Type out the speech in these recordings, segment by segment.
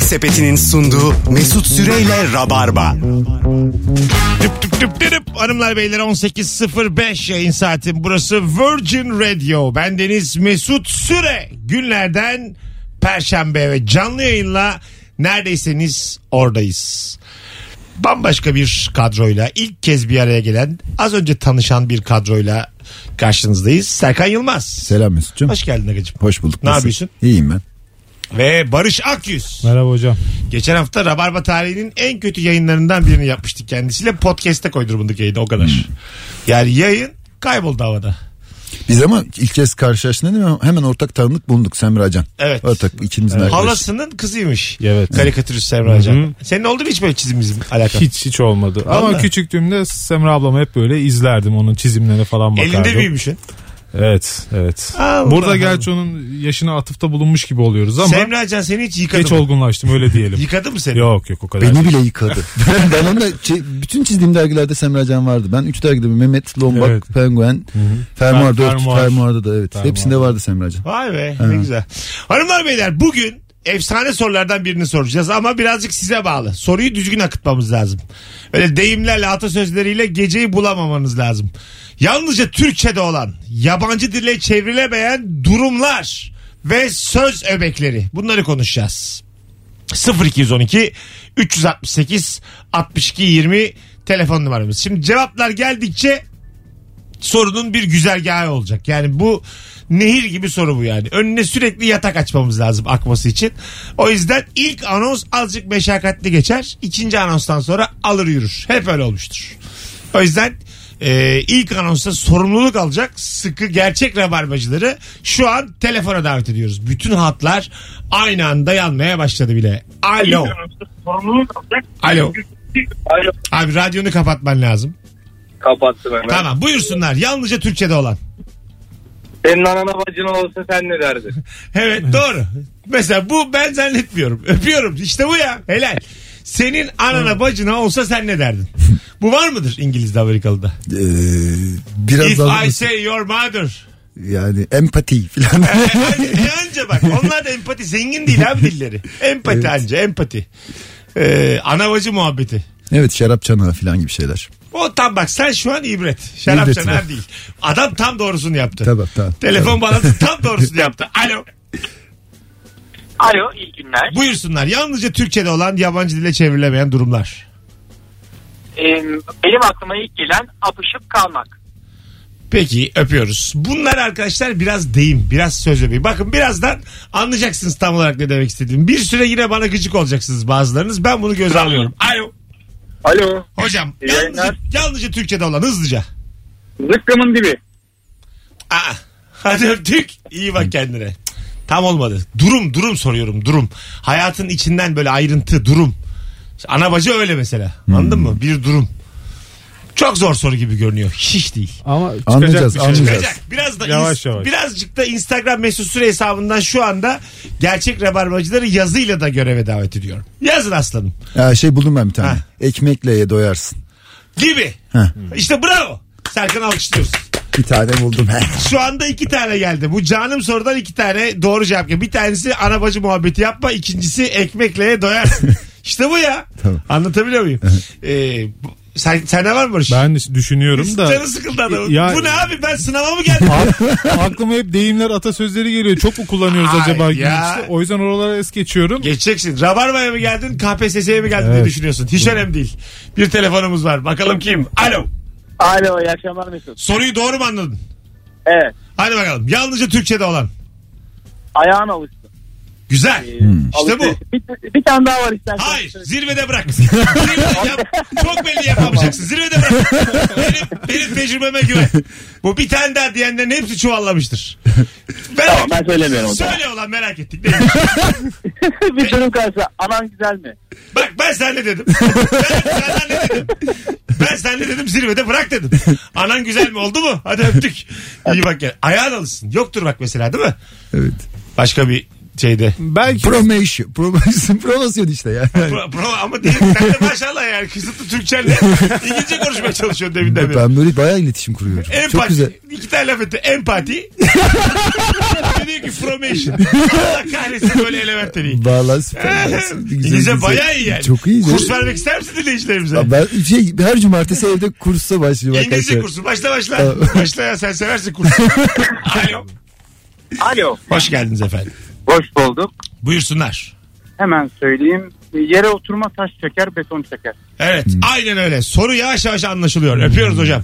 Sepeti'nin sunduğu Mesut Süreyle Rabarba. Tüp tüp tüp tüp. Hanımlar beyler 18.05 yayın saati. Burası Virgin Radio. Ben Deniz Mesut Süre. Günlerden Perşembe ve canlı yayınla neredeyseniz oradayız. Bambaşka bir kadroyla ilk kez bir araya gelen az önce tanışan bir kadroyla karşınızdayız. Serkan Yılmaz. Selam Mesut'cum. Hoş geldin Agacım. Hoş bulduk. Ne Nasılsın? yapıyorsun? İyiyim ben. Ve Barış Akyüz. Merhaba hocam. Geçen hafta Rabarba tarihinin en kötü yayınlarından birini yapmıştık kendisiyle. Podcast'te koydurmunduk yayını o kadar. Hmm. Yani yayın kayboldu havada. Biz ama ilk kez karşılaştığında değil mi? Hemen ortak tanıdık bulunduk Semra Can. Evet. Ortak ikimizin arkadaşı. Halasının kızıymış. Evet. Karikatürist Semra Can. Senin oldu mu hiç böyle çizim bizim alakan? Hiç hiç olmadı. Ama Vallahi. küçüktüğümde Semra ablamı hep böyle izlerdim onun çizimlerine falan bakardım. Elinde büyümüşsün. Evet, evet. Allah Burada Allah. gerçi onun yaşına atıfta bulunmuş gibi oluyoruz ama Semra Can seni hiç yıkadı geç mı? olgunlaştım öyle diyelim. Yıkadı mı seni? yok yok o kadar. Beni değil. bile yıkadı. ben onu da çi- bütün çizdiğim dergilerde Semra Can vardı. Ben üç dergide bir Mehmet, Lombak, Evet. Penguen, Fermuar Fer- 4, Fermuar. Fermuar'da da evet. Fermuar. Hepsinde vardı Semra Can. Vay be ne güzel. Hanımlar beyler bugün efsane sorulardan birini soracağız ama birazcık size bağlı. Soruyu düzgün akıtmamız lazım. Öyle deyimlerle atasözleriyle geceyi bulamamanız lazım. Yalnızca Türkçe'de olan yabancı dile çevrilemeyen durumlar ve söz öbekleri bunları konuşacağız. 0212 368 62 20 telefon numaramız. Şimdi cevaplar geldikçe sorunun bir güzergahı olacak. Yani bu nehir gibi soru bu yani. Önüne sürekli yatak açmamız lazım akması için. O yüzden ilk anons azıcık meşakkatli geçer. İkinci anonstan sonra alır yürür. Hep öyle olmuştur. O yüzden e, ilk anonsta sorumluluk alacak sıkı gerçek rabarbacıları şu an telefona davet ediyoruz. Bütün hatlar aynı anda yanmaya başladı bile. Alo. Alo. Alo. Abi radyonu kapatman lazım. Kapattım hemen. Tamam buyursunlar. Yalnızca Türkçe'de olan. Senin anana bacına olsa sen ne derdin? Evet doğru. Mesela bu ben zannetmiyorum. Öpüyorum. İşte bu ya. Helal. Senin anana bacına olsa sen ne derdin? Bu var mıdır İngiliz'de Amerikalı'da? Ee, biraz If daha I say your mother. yani empati falan. E anca bak onlar da empati zengin değil abi dilleri. Empati anca empati. Ee, ana bacı muhabbeti. evet şarap çanağı falan gibi şeyler. O tam bak sen şu an ibret. Şarap İbret çanar mi? değil. Adam tam doğrusunu yaptı. Tamam tamam. Telefon bağlantısı tam doğrusunu yaptı. Alo. Alo iyi günler. Buyursunlar. Yalnızca Türkçe'de olan yabancı dile çevrilemeyen durumlar. Ee, benim aklıma ilk gelen apışıp kalmak. Peki öpüyoruz. Bunlar arkadaşlar biraz deyim, biraz söz öbeği. Bakın birazdan anlayacaksınız tam olarak ne demek istediğimi. Bir süre yine bana gıcık olacaksınız bazılarınız. Ben bunu göz alıyorum. Alo. Alo. Hocam İyi yayınlar. yalnızca, yalnızca Türkçe'de olan hızlıca. Zıkkımın dibi. Aa, hadi öptük. İyi bak kendine. Cık, Tam olmadı. Durum durum soruyorum durum. Hayatın içinden böyle ayrıntı durum. Ana bacı öyle mesela. Anladın mı? Bir durum. Çok zor soru gibi görünüyor. Hiç değil. Ama çıkacak Anlayacağız, bir şey. anlayacağız. Çıkacak. Biraz da Yavaş ins- yavaş. birazcık da Instagram mesut süre hesabından şu anda gerçek rabarbacıları yazıyla da göreve davet ediyorum. Yazın aslanım. Ya şey buldum ben bir tane. Ha. Ekmekle ye doyarsın. Gibi. Ha. İşte bravo. Serkan alkışlıyoruz. Bir tane buldum. Şu anda iki tane geldi. Bu canım sorudan iki tane doğru cevap geldi. Bir tanesi ana bacı muhabbeti yapma. ikincisi ekmekle doyarsın. işte bu ya. Tamam. Anlatabiliyor muyum? ee, bu- sen, sende var mı Barış? Ben düşünüyorum da Canı sıkıldı adamın. Ya- Bu ne abi ben sınava mı geldim? aklıma hep deyimler, atasözleri geliyor. Çok mu kullanıyoruz Ay acaba? gün ya. içinde? O yüzden oralara es geçiyorum. Geçeceksin. Rabarba'ya mı geldin, KPSS'ye mi geldin diye Evet. düşünüyorsun. Hiç önemli değil. Bir telefonumuz var. Bakalım kim? Alo. Alo iyi akşamlar Mesut. Soruyu doğru mu anladın? Evet. Hadi bakalım. Yalnızca Türkçe'de olan. Ayağın alıştı. Güzel. Ee, İşte bu. Bir, bir tane daha var istersen. Hayır. Zirvede bırak. Zirvede yap. Çok belli yapamayacaksın. Zirvede bırak. Benim, benim tecrübeme güven. Bu bir tane daha diyenlerin hepsi çuvallamıştır. Ben, Tamam ben söylemiyorum o zaman. Söyle ulan merak ettik. Neymiş? bir durum karşısında anan güzel mi? Bak ben sana ne dedim. Ben sana ne dedim. Ben sana ne dedim zirvede bırak dedim. Anan güzel mi oldu mu? Hadi öptük. İyi bak ya. Ayağın alışsın. Yoktur bak mesela değil mi? evet. Başka bir şeyde. Belki Promosyon. Promosyon, promosyon işte ya. Pro, pro, ama değil. Sen de maşallah yani kısıtlı Türkçenle İngilizce konuşmaya çalışıyorsun deminden beri. Ben böyle bayağı iletişim kuruyorum. Empati. Çok güzel. İki tane laf etti. Empati. Bir diyor ki pro Automation. Allah kahretsin böyle elementleri. Vallahi süper. Güzel, İngilizce bayağı iyi yani. Çok iyi. Kurs vermek ister misin dinleyicilerimize? Ya Ben şey, her cumartesi evde kursa başlıyorum İngilizce arkadaşlar. kursu. Başla başla. Tamam. başla ya sen seversin kursu. Alo. Alo. Hoş geldiniz efendim. Hoş bulduk. Buyursunlar. Hemen söyleyeyim. Yere oturma taş çeker, beton çeker. Evet Hmm. aynen öyle. Soru yavaş yavaş anlaşılıyor. Öpüyoruz hocam.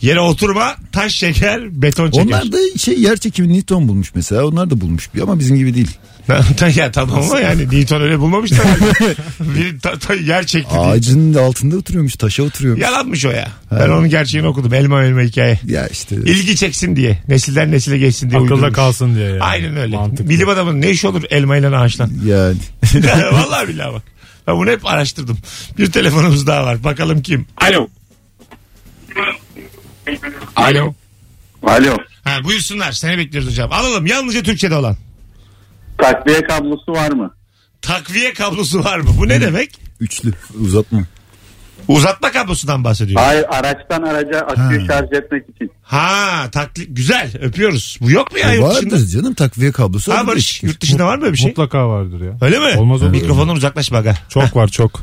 Yere oturma, taş şeker, beton çeker. Onlar da şey yer çekimi Newton bulmuş mesela. Onlar da bulmuş bir ama bizim gibi değil. ya tamam ama yani Newton öyle bulmamış da. Bir ta- ta- yer çekti diye. Ağacın altında oturuyormuş, taşa oturuyormuş. Ya, Yalanmış o ya. Ben onun gerçeğini okudum. Elma elma hikaye. işte. İlgi çeksin diye. Nesilden nesile geçsin diye Akılda uydurmuş. kalsın diye. yani. Aynen öyle. Mantıklı. Bilim adamının ne işi olur elmayla ağaçtan. Yani. Vallahi billahi bak. Ben bunu hep araştırdım. Bir telefonumuz daha var. Bakalım kim? Alo. Alo. Alo. Ha, buyursunlar. Seni bekliyoruz hocam. Alalım. Yalnızca Türkçe'de olan. Takviye kablosu var mı? Takviye kablosu var mı? Bu Hmm. ne demek? Üçlü uzatma. Uzatma kablosundan bahsediyor. Hayır araçtan araca aküyü şarj etmek için. Ha, takli güzel. Öpüyoruz. Bu yok mu E, ya yurt dışında? Vardır canım takviye kablosu. Ha vardır. Barış, yurt dışında var mı böyle bir şey? Mutlaka vardır ya. Öyle mi? Olmaz olur mu? Mikrofondan uzaklaşma aga. Çok var çok.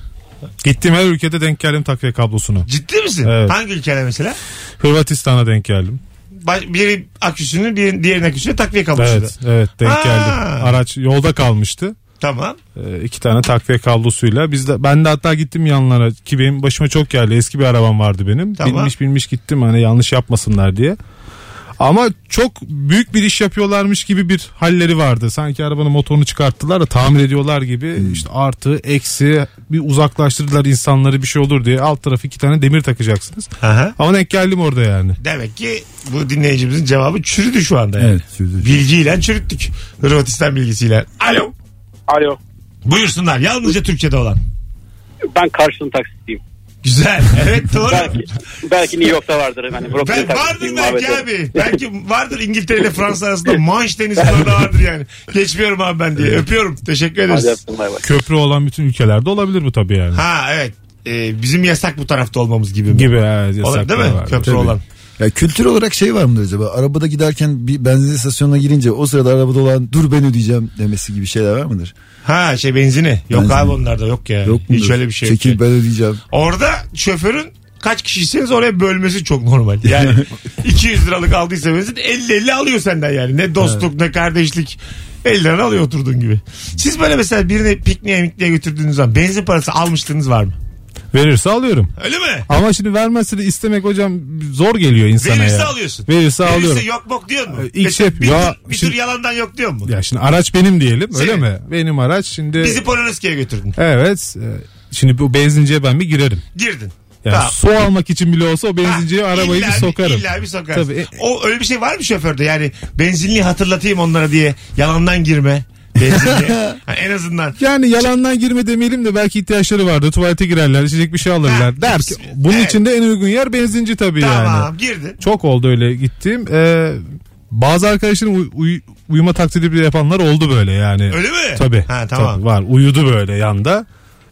Gittiğim her ülkede denk geldim takviye kablosunu. Ciddi misin? Evet. Hangi ülkede mesela? Hırvatistan'a denk geldim. Baş- Biri aküsünü, diğer, diğerinin aküsüne takviye kablosu. Evet, evet denk Ha. geldim. Araç yolda kalmıştı. Tamam. Ee, iki tane takviye kablosuyla. Biz de, ben de hatta gittim yanlara ki benim başıma çok geldi. Eski bir arabam vardı benim. Tamam. Binmiş binmiş gittim hani yanlış yapmasınlar diye. Ama çok büyük bir iş yapıyorlarmış gibi bir halleri vardı. Sanki arabanın motorunu çıkarttılar da tamir ediyorlar gibi. Hmm. İşte artı, eksi bir uzaklaştırdılar insanları bir şey olur diye. Alt tarafı iki tane demir takacaksınız. Aha. Ama denk geldim orada yani. Demek ki bu dinleyicimizin cevabı çürüdü şu anda. Yani. Evet, çürüdü. Bilgiyle çürüttük. Hırvatistan bilgisiyle. Alo. Alo. Buyursunlar. Yalnızca Türkçe'de olan. Ben Carlton taksiciyim. Güzel. Evet doğru. Belki, belki New York'ta vardır. Hani Brooklyn Ben vardır taksiciyim belki muhabbeti. abi. Belki vardır İngiltere ile Fransa arasında Manş denizi orada vardır yani. Geçmiyorum abi ben diye. Öpüyorum. Teşekkür Hadi ederiz. öptüm, bay bay. Köprü olan bütün ülkelerde olabilir bu tabii yani. Ha evet. Ee, bizim yasak bu tarafta olmamız gibi mi? Gibi evet, Olabilir yasaklar değil mi? vardı. Köprü Tabii. olan. Ya kültür olarak şey var mıdır acaba? Arabada giderken bir benzin istasyonuna girince o sırada arabada olan dur ben ödeyeceğim demesi gibi şeyler var mıdır? Ha şey benzini. Yok Benzini. abi onlarda yok ya. Yok mudur? Hiç öyle bir şey yok. Çekil yani. ben ödeyeceğim. Orada şoförün kaç kişiyseniz oraya bölmesi çok normal. Yani 200 liralık aldıysa benzin 50-50 alıyor senden yani. Ne dostluk ne kardeşlik. 50 lira alıyor oturduğun gibi. Siz böyle mesela birini pikniğe mikniğe götürdüğünüz zaman benzin parası almışlığınız var mı? Verirse alıyorum. Öyle mi? Ama şimdi vermezse de istemek hocam zor geliyor insana Verirse ya. alıyorsun. Verirse alıyorum. Verirse yok bok diyor mu? Ee, ilk Mesela şey- bir, ya- tür, bir şimdi- tür yalandan yok diyor mu? Ya şimdi araç benim diyelim öyle Senin. mi? Benim araç şimdi. Bizi Polonezki'ye götürdün. Evet. e, Şimdi bu benzinciye ben bir girerim. Girdin. Yani Tamam. su almak için bile olsa o Ha, benzinciye arabayı illa bir sokarım. illa bir sokarsın. Tabii. e, O öyle bir şey var mı şoförde? Yani benzinliği hatırlatayım onlara diye yalandan girme. Benzinliğe. Ha, en azından. Yani yalandan girme demeyelim de belki ihtiyaçları vardı. Tuvalete girerler, içecek bir şey alırlar. Ha, der ki bunun evet. için de en uygun yer benzinci tabii yani. Tamam girdin. Çok oldu öyle gittiğim. Ee, bazı arkadaşların uy- uy- uyuma taklidi bile yapanlar oldu böyle yani. Öyle mi? Tabii. Ha, tamam. Tabii, var. Uyudu böyle yanda.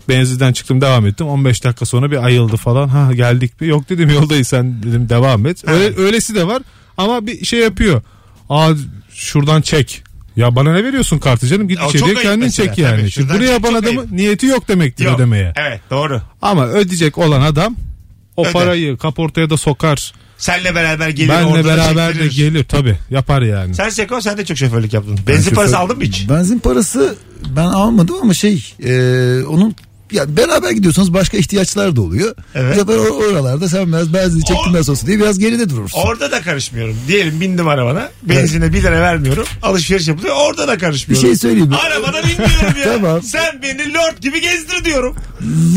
Benzinden çıktım devam ettim. 15 dakika sonra bir ayıldı falan. Ha geldik mi? Yok dedim yoldayız sen dedim devam et. Öyle, öylesi de var ama bir şey yapıyor. Aa şuradan çek. Ya bana ne veriyorsun kartı canım? Git O çok içeriye ayıp kendin mesela, çek yani. tabii. Şimdi Şuradan buraya çek, yapan çok adamın ayıp. niyeti yok demektir Yok. ödemeye. Evet doğru. Ama ödeyecek olan adam o Öder. parayı kaportaya da sokar. Senle beraber gelir. Benle orada da beraber de çektirir. gelir tabii yapar yani. Sen Seko sen de çok şoförlük yaptın. Benzin Şoför- parası aldın mı hiç? Benzin parası ben almadım ama şey e, onun ya beraber gidiyorsanız başka ihtiyaçlar da oluyor. Evet. Bu sefer or- oralarda sen biraz benzin çektim O- nasıl olsun diye biraz geride durursun. Orada da karışmıyorum. Diyelim bindim arabana. Benzine bir lira vermiyorum. Alışveriş yapılıyor. Orada da bir karışmıyorum. şey söyleyeyim mi? Arabadan inmiyorum ya. Tamam. Sen beni lord gibi gezdir diyorum.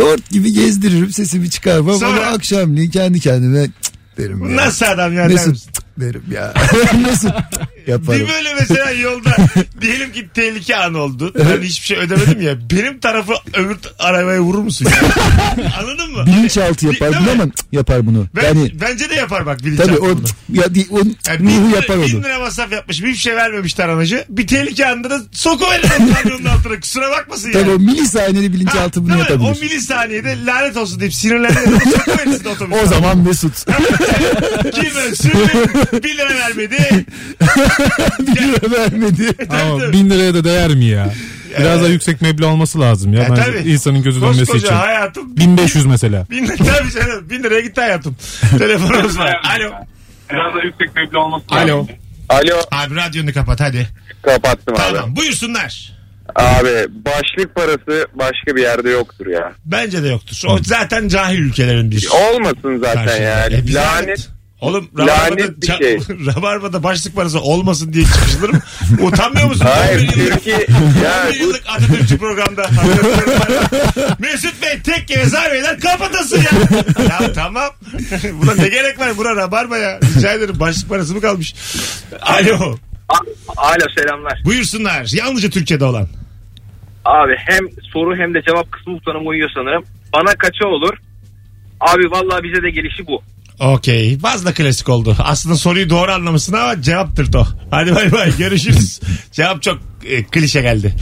Lord gibi gezdiririm sesimi çıkarmam Sonra- ama akşamleyin kendi kendime "Cık" derim ya. Nasıl adam ya? der Mesut misin? "Cık" derim ya. Nasıl "Cık" yaparım. Bir böyle mesela yolda diyelim ki tehlike anı oldu. Ben hiçbir şey ödemedim ya. Benim tarafı öbür t- arabaya vurur musun? ya? Anladın mı? Bilinçaltı Bir- yapar değil bunu mi? ama "Cık" yapar bunu. Ben- yani bence de yapar bak bilinçaltı. tabii o "Cık" ya, di- o Yani bin, ruhu lira- yapar bin onu. lira masraf yapmış. Hiçbir şey vermemiş taramacı. Bir tehlike anında da sokuverir o kamyonun altına. Kusura bakmasın yani. Tabii o milisaniyede Ha, bilinçaltı bunu değil mi? O yapabilir. milisaniyede lanet olsun deyip sinirlenir. Sokuverirsin otobüsü. O zaman Mesut. Kim ben? Sürmeyin. 1 lira vermedi. Bir lira vermedi. Ama bin liraya da değer mi ya? Biraz daha yüksek meblağ olması lazım ya. Ya bence E, tabii. insanın gözü dönmesi Koskoca için. hayatım. 1500 mesela. Bin, tabii canım. şey Bin liraya gitti hayatım. Telefonumuz var. Alo. Biraz da yüksek meblağ olması Alo. Alo Abi radyonu kapat hadi. kapattım abi. Tamam buyursunlar. Abi başlık parası başka bir yerde yoktur ya. Bence de yoktur. O zaten cahil ülkelerin bir Olmasın zaten karşılığı. yani. E, biz Lanet evet. Oğlum Lanet Rabarba'da, bir ça- şey. Rabarba'da başlık parası olmasın diye çıkışılır mı? Utanmıyor musun? Hayır 11 yıllık- Türkiye ya 11 bu yıllık Atatürkçü programda. Mesut Bey tek kere zarveler kapatasın ya. ya tamam. Buna ne gerek var? Buna rabarba ya. Rica ederim başlık parası mı kalmış? Alo. Alo selamlar. Buyursunlar. Yalnızca Türkiye'de olan. Abi hem soru hem de cevap kısmı bu tanıma uyuyor sanırım. Bana kaça olur? Abi vallahi bize de gelişi bu. Okey. Fazla klasik oldu. Aslında soruyu doğru anlamışsın ama cevaptır o. Hadi bay bay görüşürüz. Cevap çok e, klişe geldi.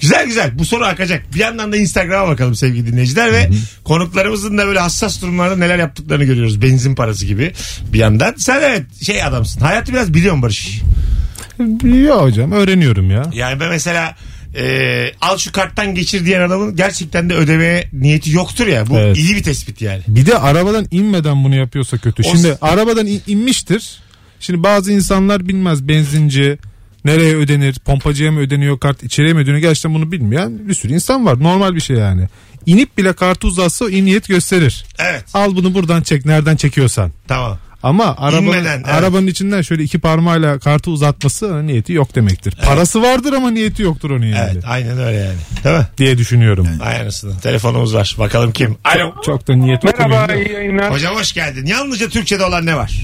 Güzel güzel. Bu soru akacak. Bir yandan da Instagram'a bakalım sevgili dinleyiciler ve konuklarımızın da böyle hassas durumlarda neler yaptıklarını görüyoruz. Benzin parası gibi bir yandan. Sen evet şey adamsın. Hayatı biraz biliyorsun Barış. Ya hocam öğreniyorum ya. Yani ben mesela e, al şu karttan geçir diyen adamın gerçekten de ödemeye niyeti yoktur ya. Bu Evet. iyi bir tespit yani. Bir de arabadan inmeden bunu yapıyorsa kötü. O- Şimdi arabadan in- inmiştir. Şimdi bazı insanlar bilmez benzinci nereye ödenir, pompacıya mı ödeniyor kart, içeriye mi ödeniyor gerçekten bunu bilmeyen bir sürü insan var. Normal bir şey yani. İnip bile kartı uzatsa o iyi niyet gösterir. Evet Al bunu buradan çek nereden çekiyorsan. tamam. Ama arabanın, İnmeden, evet. arabanın içinden şöyle iki parmağıyla kartı uzatması hani niyeti yok demektir. Parası vardır ama niyeti yoktur onun yani Evet aynen öyle yani. Değil mi? diye düşünüyorum. Vay anasını. Telefonumuz var. Bakalım kim? Alo. Çok da niyet okumuyor. Merhaba, iyi yayınlar. Hocam hoş geldin. Yalnızca Türkçe'de olan ne var?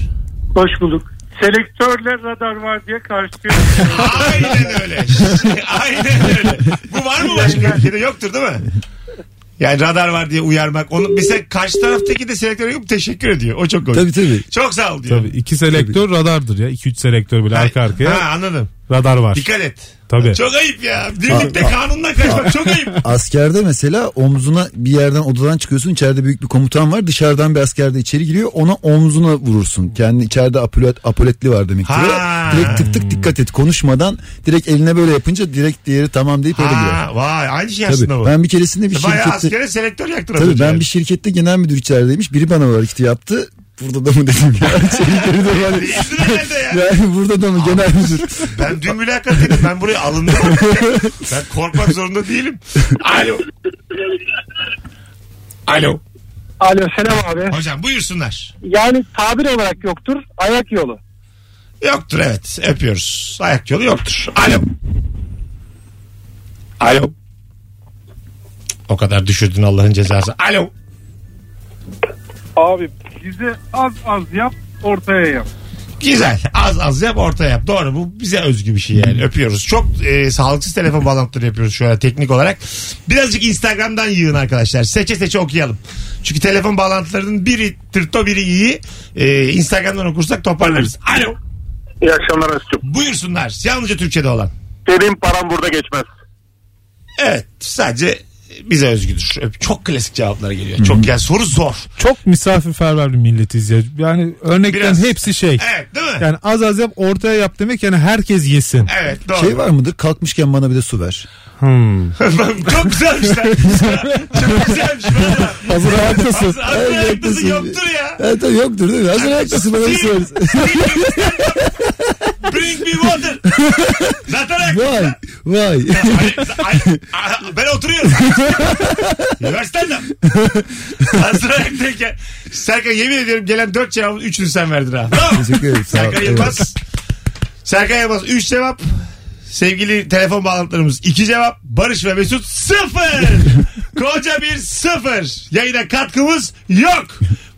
Hoş bulduk. Selektörle radar var diye karşılıyor. Aynen öyle. Aynen öyle. Bu var mı başka ülkede? Yoktur değil mi? Yani radar var diye uyarmak. Onu bize karşı taraftaki de selektör yapıp teşekkür ediyor. O çok hoş. Tabii tabii. Çok sağ ol diyor. Tabii iki selektör radardır ya. 2 3 selektör bile arka arkaya Ha anladım. radar var. Dikkat et. Tabii. Çok ayıp ya. Birlikte kanundan kaçmak çok ayıp. Askerde mesela omzuna bir yerden odadan çıkıyorsun içeride büyük bir komutan var dışarıdan bir asker de içeri giriyor ona omzuna vurursun. Kendi içeride apolet, apoletli var demektir. Ha. Direkt tık tık dikkat et konuşmadan direkt eline böyle yapınca direkt diğeri tamam deyip öyle girer. Ha, vay aynı şey Tabii. aslında bu. Ben bir keresinde bir Bayağı şirkette askere selektör yaktın. az Tabii önce yani. ben bir şirkette genel müdür içerideymiş. Biri bana o hareketi yaptı. Burada da mı dedim ya? İçeri de yani. Yüzüne geldi ya. Yani burada da mı genel müdür? Ben dün mülakat dedim. Ben buraya alındım. ben korkmak zorunda değilim. Alo. Alo. Alo selam abi. Hocam buyursunlar. Yani tabir olarak yoktur ayak yolu. Yoktur evet. Öpüyoruz. Ayak yolu yoktur. Alo. Alo. O kadar düşürdün Allah'ın cezası. Alo. Abi bize az az yap ortaya yap. Güzel. Az az yap orta yap. Doğru bu bize özgü bir şey yani. Öpüyoruz. Çok e, sağlıksız telefon bağlantıları yapıyoruz şu an teknik olarak. Birazcık Instagram'dan yığın arkadaşlar. Seçe seçe okuyalım. Çünkü telefon bağlantılarının biri tırto biri iyi. E, Instagram'dan okursak toparlarız. Alo. iyi akşamlar Mesut'cum. Buyursunlar. Yalnızca Türkçe'de olan. Benim param burada geçmez. Evet. Sadece bize özgüdür. Öp- Çok klasik cevaplar geliyor. Çok yani soru zor. Çok misafirperver bir milletiz ya. Yani örneklerin Biraz. hepsi şey. Evet değil mi? Yani az az yap ortaya yap demek yani herkes yesin. Evet doğru. Şey var mıdır? Kalkmışken bana bir de su ver. Hmm. Çok güzelmiş lan. Çok güzelmiş. Bravo. Hazır ayaktasın. Hazır ayaktasın yoktur ya. Evet E, tabii yoktur değil mi? Hazır ayaktasın bana bir su ver. Bring me water. Zaten ayak- Vay vay. Ay- ay- ay- ben oturuyorum. Üniversiteden. Hazır ayaktayken. Serkan yemin ediyorum gelen dört cevabın üçünü sen verdin ha. Bravo. Teşekkür ederim. Sağ ol. Serkan Yılmaz. Serkan Yılmaz 3 cevap. Sevgili telefon bağlantılarımız 2 cevap. Barış ve Mesut 0. Koca bir 0. Yayına katkımız yok.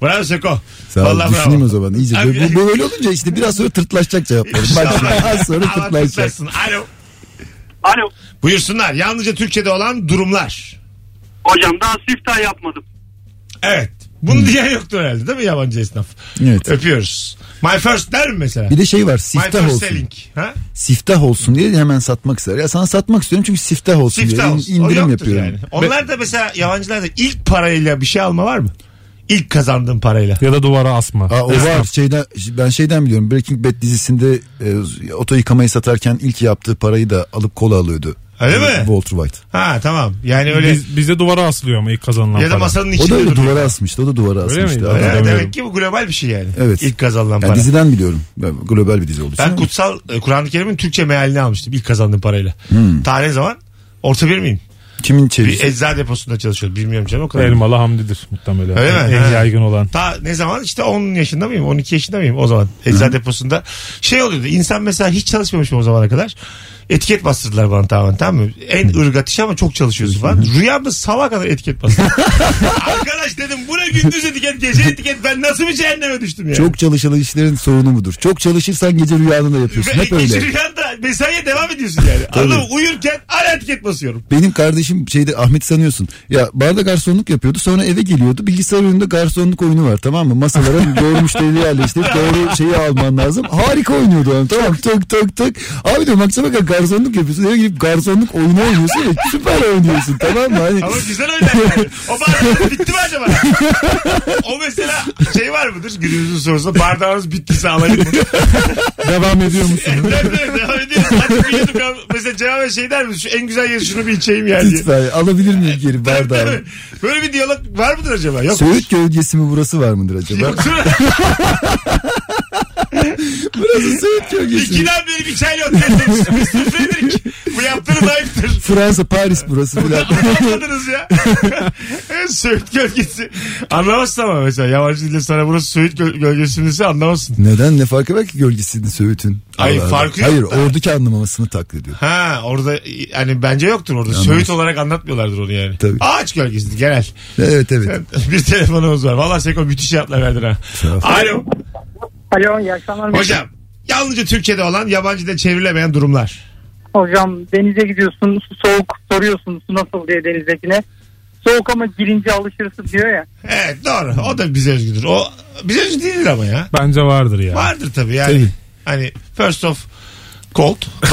Bravo Seko. Sağ ol. Vallahi Düşüneyim bravo. o zaman iyice. Abi- Bu, bu böyle olunca işte biraz sonra tırtlaşacak cevaplarım. Bak İnşallah. az sonra Allah tırtlaşacak. kutlasın. Alo. Alo Buyursunlar. Yalnızca Türkçe'de olan durumlar. hocam daha siftah yapmadım. Evet. Bunu diyen yoktur herhalde değil mi yabancı esnaf? Hmm. Evet. Öpüyoruz. My first der mi mesela? Bir de şey var My siftah first olsun. selling. Ha? siftah olsun diye hemen satmak ister. Ya sana satmak istiyorum çünkü siftah olsun Siftah diye in- olsun. O indirim yoktur yapıyorum. yani. Onlar da mesela yabancılarda ilk parayla bir şey alma var mı? İlk kazandığın parayla. Ya da duvara asma. Aa, o Esnaf. var şeyden ben şeyden biliyorum Breaking Bad dizisinde e, oto yıkamayı satarken ilk yaptığı parayı da alıp kola alıyordu. Öyle mi? Walter White. Ha tamam. Yani öyle Biz- bizde duvara asılıyor ama ilk kazanılan ya da para. masanın O içinde da öyle duruyor. duvara asmıştı. O da duvara Öyle miydi? asmıştı. Öyle Evet, Adam- Hatırlamıyorum. demek ki bu global bir şey yani. Evet. İlk kazanılan Yani para. diziden biliyorum. Ben- Global bir dizi olduğu için. Ben ama- kutsal e, Kur'an-ı Kerim'in Türkçe mealini almıştım ilk kazandığım parayla. Hmm. Tane zaman orta bir miyim? Kimin Bir çevirisi? eczacı deposunda çalışıyordum. Bilmiyorum canım o kadar. Elmalı Hamdi'dir muhtemelen. Öyle mi? En Ha. yaygın olan. Ta ne zaman işte 10 yaşında mıyım 12 yaşında mıyım o zaman eczane deposunda şey oluyordu insan mesela hiç çalışmamışım o zamana kadar etiket bastırdılar bana tamamen tamam mı en ırgat iş ama çok çalışıyorsun falan rüyamda sabah kadar etiket bastırdı arkadaş dedim bu ne gündüz etiket gece etiket ben nasıl bir cehenneme düştüm ya Çok çalışan işlerin sorunu mudur? Çok çalışırsan gece rüyanı da yapıyorsun. ve Hep ikinci öyle. rüyanda mesaiye devam ediyorsun yani. Anladın mı? Uyurken ara etiket basıyorum. Benim kardeşim şeyde Ahmet sanıyorsun. Ya barda garsonluk yapıyordu. Sonra eve geliyordu. Bilgisayar önünde garsonluk oyunu var tamam mı? Masalara doğru müşteriyi yerleştirip doğru şeyi alman lazım. Harika oynuyordu adam. Tamam tık tık tık. Abi diyorum akşama kadar garsonluk yapıyorsun. Eve gidip garsonluk oyunu oynuyorsun. ya, süper oynuyorsun tamam mı? Hani... Ama güzel oynar yani. O bardağınız bitti mi acaba? o mesela şey var mıdır günümüzün sorusunda bardağınız bittiyse alayım mı? Devam ediyor musun? Tabii, tabii, devam ediyoruz. Hadi bir yudum al. Mesela Cevap şey der mi? Şu en güzel yeri şunu bir içeyim yani. diye. Lütfen alabilir miyim geri bardağı? Tabii. Böyle bir diyalog var mıdır acaba? Yok. Söğüt gölgesi mi burası var mıdır acaba? Yoktur. burası Söğüt gölgesi. mi? İkiden beri bir çayla otel demiştim. Bir sürü Fredrik. Bu yaptığınız ayıptır. Fransa Paris burası filan. Anladınız ya. Söğüt gölgesi. Anlamazsın ama mesela. Yabancı dilde sana burası Söğüt göl- gölgesi mi anlamazsın. Neden ne farkı var ki gölgesinin Söğüt'ün? Ay, Allah Allah. farkı yok Hayır da. oradaki anlamamasını taklit ediyor. Ha orada yani bence yoktur orada. Söğüt olarak anlatmıyorlardır onu yani. Tabii. Ağaç gölgesidir genel. Evet evet. bir telefonumuz var. Valla Seko müthiş yanıtlar verdin ha. Alo. Alo iyi akşamlar. Hocam yalnızca Türkiye'de olan yabancıda çevrilemeyen durumlar. Hocam denize gidiyorsun su soğuk soruyorsun su nasıl diye denizdekine. Soğuk ama girince alışırsın diyor ya. Evet doğru. O da bize özgüdür. O bize özgü değildir ama ya. Bence vardır ya. Vardır tabii yani. Tabii. Hani first of cold but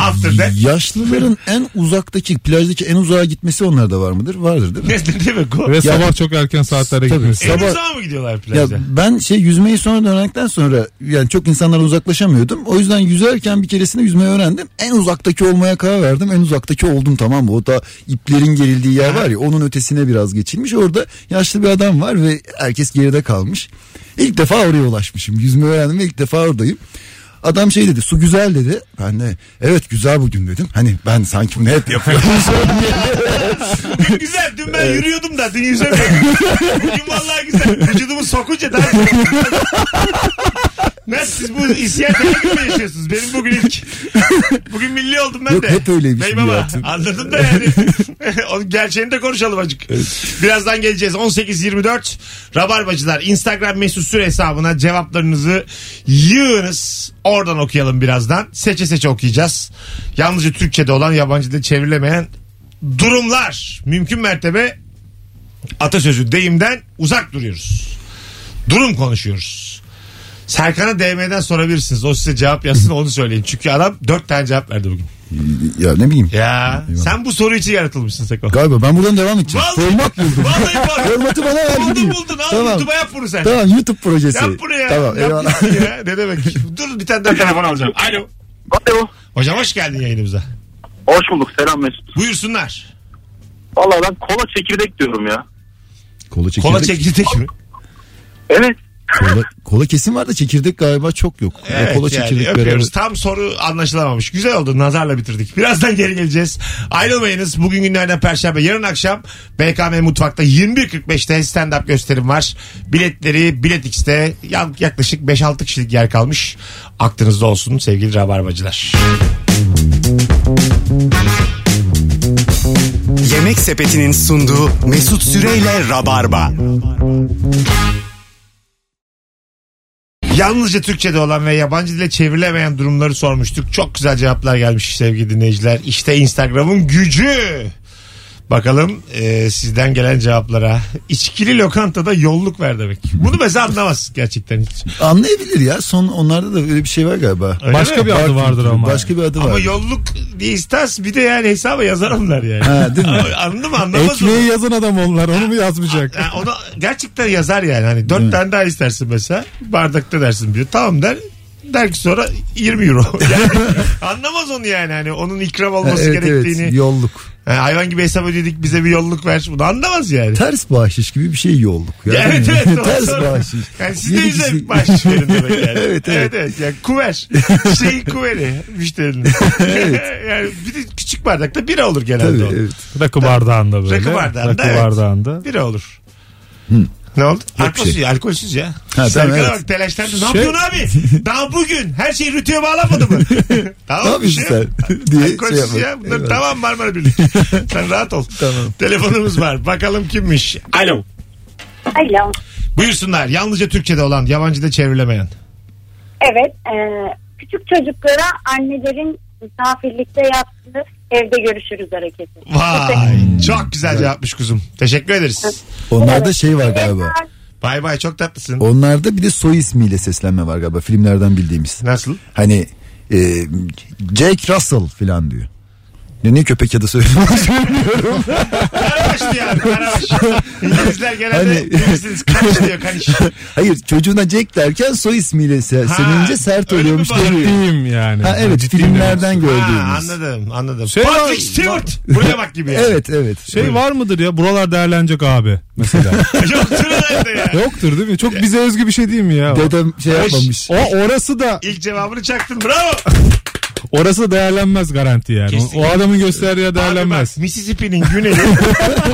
after that. Yaşlıların en uzaktaki plajdaki en uzağa gitmesi onlarda var mıdır? Vardır değil mi? ne, ne demek o? Ve En sabah çok erken saatlere Tabii. gitmesi. sabah- uzağa mı gidiyorlar Ya plaja? ben şey yüzmeyi sonra öğrendikten sonra yani çok insanlara uzaklaşamıyordum. O yüzden yüzerken bir keresinde yüzmeyi öğrendim. En uzaktaki olmaya karar verdim. En uzaktaki oldum tamam mı? O da iplerin gerildiği yer var ya onun ötesine biraz geçilmiş. Orada yaşlı bir adam var ve herkes geride kalmış. İlk defa oraya ulaşmışım. Yüzmeyi öğrendim ve ilk defa oradayım. Adam şey dedi su güzel dedi. Ben de evet güzel bugün dedim. Hani ben sanki bunu hep yapıyorum. Bugün güzel. Dün ben yürüyordum da dün yüzemiyordum. Bugün vallahi güzel. Vücudumu sokunca daha güzel. Nasıl siz bu isyan gibi mi yaşıyorsunuz? Benim bugün ilk. Bugün milli oldum ben Yok, de. hep öyleymiş Bey bir baba hayatım. anladım da yani. Onun gerçeğini de konuşalım acık. Birazdan geleceğiz. 18.24 Rabarbacılar Instagram mesut süre hesabına cevaplarınızı yığınız. Oradan okuyalım birazdan. Seçe seçe okuyacağız. Yalnızca Türkçe'de olan yabancı dilde çevrilemeyen durumlar. Mümkün mertebe atasözü deyimden uzak duruyoruz. Durum konuşuyoruz. Serkan'a DM'den sorabilirsiniz. O size cevap yazsın onu söyleyin. Çünkü adam dört tane cevap verdi bugün. ya ne bileyim. Ya sen bu soru için yaratılmışsın Seko. Galiba ben buradan devam edeceğim. Format buldum. Vallahi bak. Formatı bana ver Buldun gideyim. buldun. Al Tamam. YouTube'a yap bunu sen. Tamam YouTube projesi. Yap bunu ya. Tamam Yap eyvallah. bunu ya. Ne demek. Dur bir tane daha telefon alacağım. Alo. Alo. Hocam hoş geldin yayınımıza. Hoş bulduk. Selam Mesut. Buyursunlar. Vallahi ben kola çekirdek diyorum ya. Kola çekirdek. Kola çekirdek mi? Evet. Kola, kola kesin var da çekirdek galiba çok yok. Evet kola yani çekirdek öpüyoruz. beraber. Tam soru anlaşılamamış. Güzel oldu. Nazarla bitirdik. Birazdan geri geleceğiz. Ayrılmayınız. Bugün günlerden Perşembe. Yarın akşam BKM Mutfak'ta 21.45'te stand-up gösterim var. Biletleri Bilet X'te ya- yaklaşık 5-6 kişilik yer kalmış. Aklınızda olsun sevgili rabarbacılar. Yemek Sepeti'nin sunduğu Mesut Süreyle Rabarba. Yalnızca Türkçe'de olan ve yabancı dile çevrilemeyen durumları sormuştuk. Çok güzel cevaplar gelmiş sevgili dinleyiciler. İşte Instagram'ın gücü. Bakalım e, sizden gelen cevaplara. İçkili lokantada yolluk ver demek. Bunu mesela anlamaz gerçekten hiç. Anlayabilir ya. Son onlarda da öyle bir şey var galiba. Öyle Başka mi? bir adı vardır ama. Başka bir adı var. Ama yolluk istans bir de yani hesaba yazarımlar yani. Ha, değil mi? Anladın mı anlamaz mı? Ekmeği yazan adam onlar onu mu yazmayacak? Yani onu gerçekten yazar yani. Hani dört Hmm. tane daha istersin mesela. Bardakta dersin diyor. Tamam der. Der ki sonra 20 euro. Yani anlamaz onu yani. Hani onun ikram olması evet gerektiğini. evet yolluk. Ha, hayvan gibi hesap ödedik bize bir yolluk ver. Bunu anlamaz yani. Ters bahşiş gibi bir şey yolluk. ya. Ya evet evet. doğru Ters soru. bahşiş. Yani siz de Yedi bize kişi- bahşiş verin demek yani. evet, evet. Evet, evet. evet Yani kuver. Şeyin kuveri müşterinin. yani bir de küçük bardakta bira olur genelde Tabii o. evet. Rakı bardağında böyle. Rakı bardağında, Rakı evet. bardağında. Bira olur. Ne oldu? Alkolsüz şey. ya, alkolsüz ya. tamam, Serkan'a evet. bak telaşlandı. Ne Şey- yapıyorsun abi? Daha bugün her şey rütüye bağlanmadı mı? tamam, Ne bir yapıyorsun şey yok. sen? diye şey Alkolsüz yapmak. ya. Bunlar Eyvallah. tamam Marmara Birlik. Sen rahat ol. Tamam. Telefonumuz var. Bakalım kimmiş? Alo. Alo. Buyursunlar. Yalnızca Türkçe'de olan, yabancıda çevrilemeyen. Evet. e, küçük çocuklara annelerin misafirlikte yaptığı evde görüşürüz hareketi. Vay. çok güzel cevapmış kuzum. Teşekkür ederiz. Onlarda şey var galiba. Bay bay çok tatlısın. Onlarda bir de soy ismiyle seslenme var galiba filmlerden bildiğimiz. Nasıl? Hani e, Jack Russell filan diyor. Ne, ne köpek adı söylüyorsun? Karabaş diyor abi karabaş. İngilizler genelde Hani- bilirsiniz kaniş diyor kaniş. Hayır çocuğuna Jack derken soy ismiyle se- Ha, senince sert öyle mi oluyormuş. bağırıyor? deniyor. Ciddiyim yani. Ha, evet Ciddiyim demek. filmlerden Ha, gördüğümüz. anladım anladım. Şey var- Patrick Stewart. Buraya bak gibi yani. Evet evet. Şey var mıdır ya buralar değerlenecek abi mesela. Yoktur herhalde ya. Yoktur değil mi? Çok bize özgü bir şey değil mi ya? o? Dedem şey yapmamış. O orası da İlk cevabını çaktın bravo. orası da değerlenmez garanti yani. O- Kesinlikle. O adamın gösterdiği yer Abi bak değerlenmez. Mississippi'nin güneyi.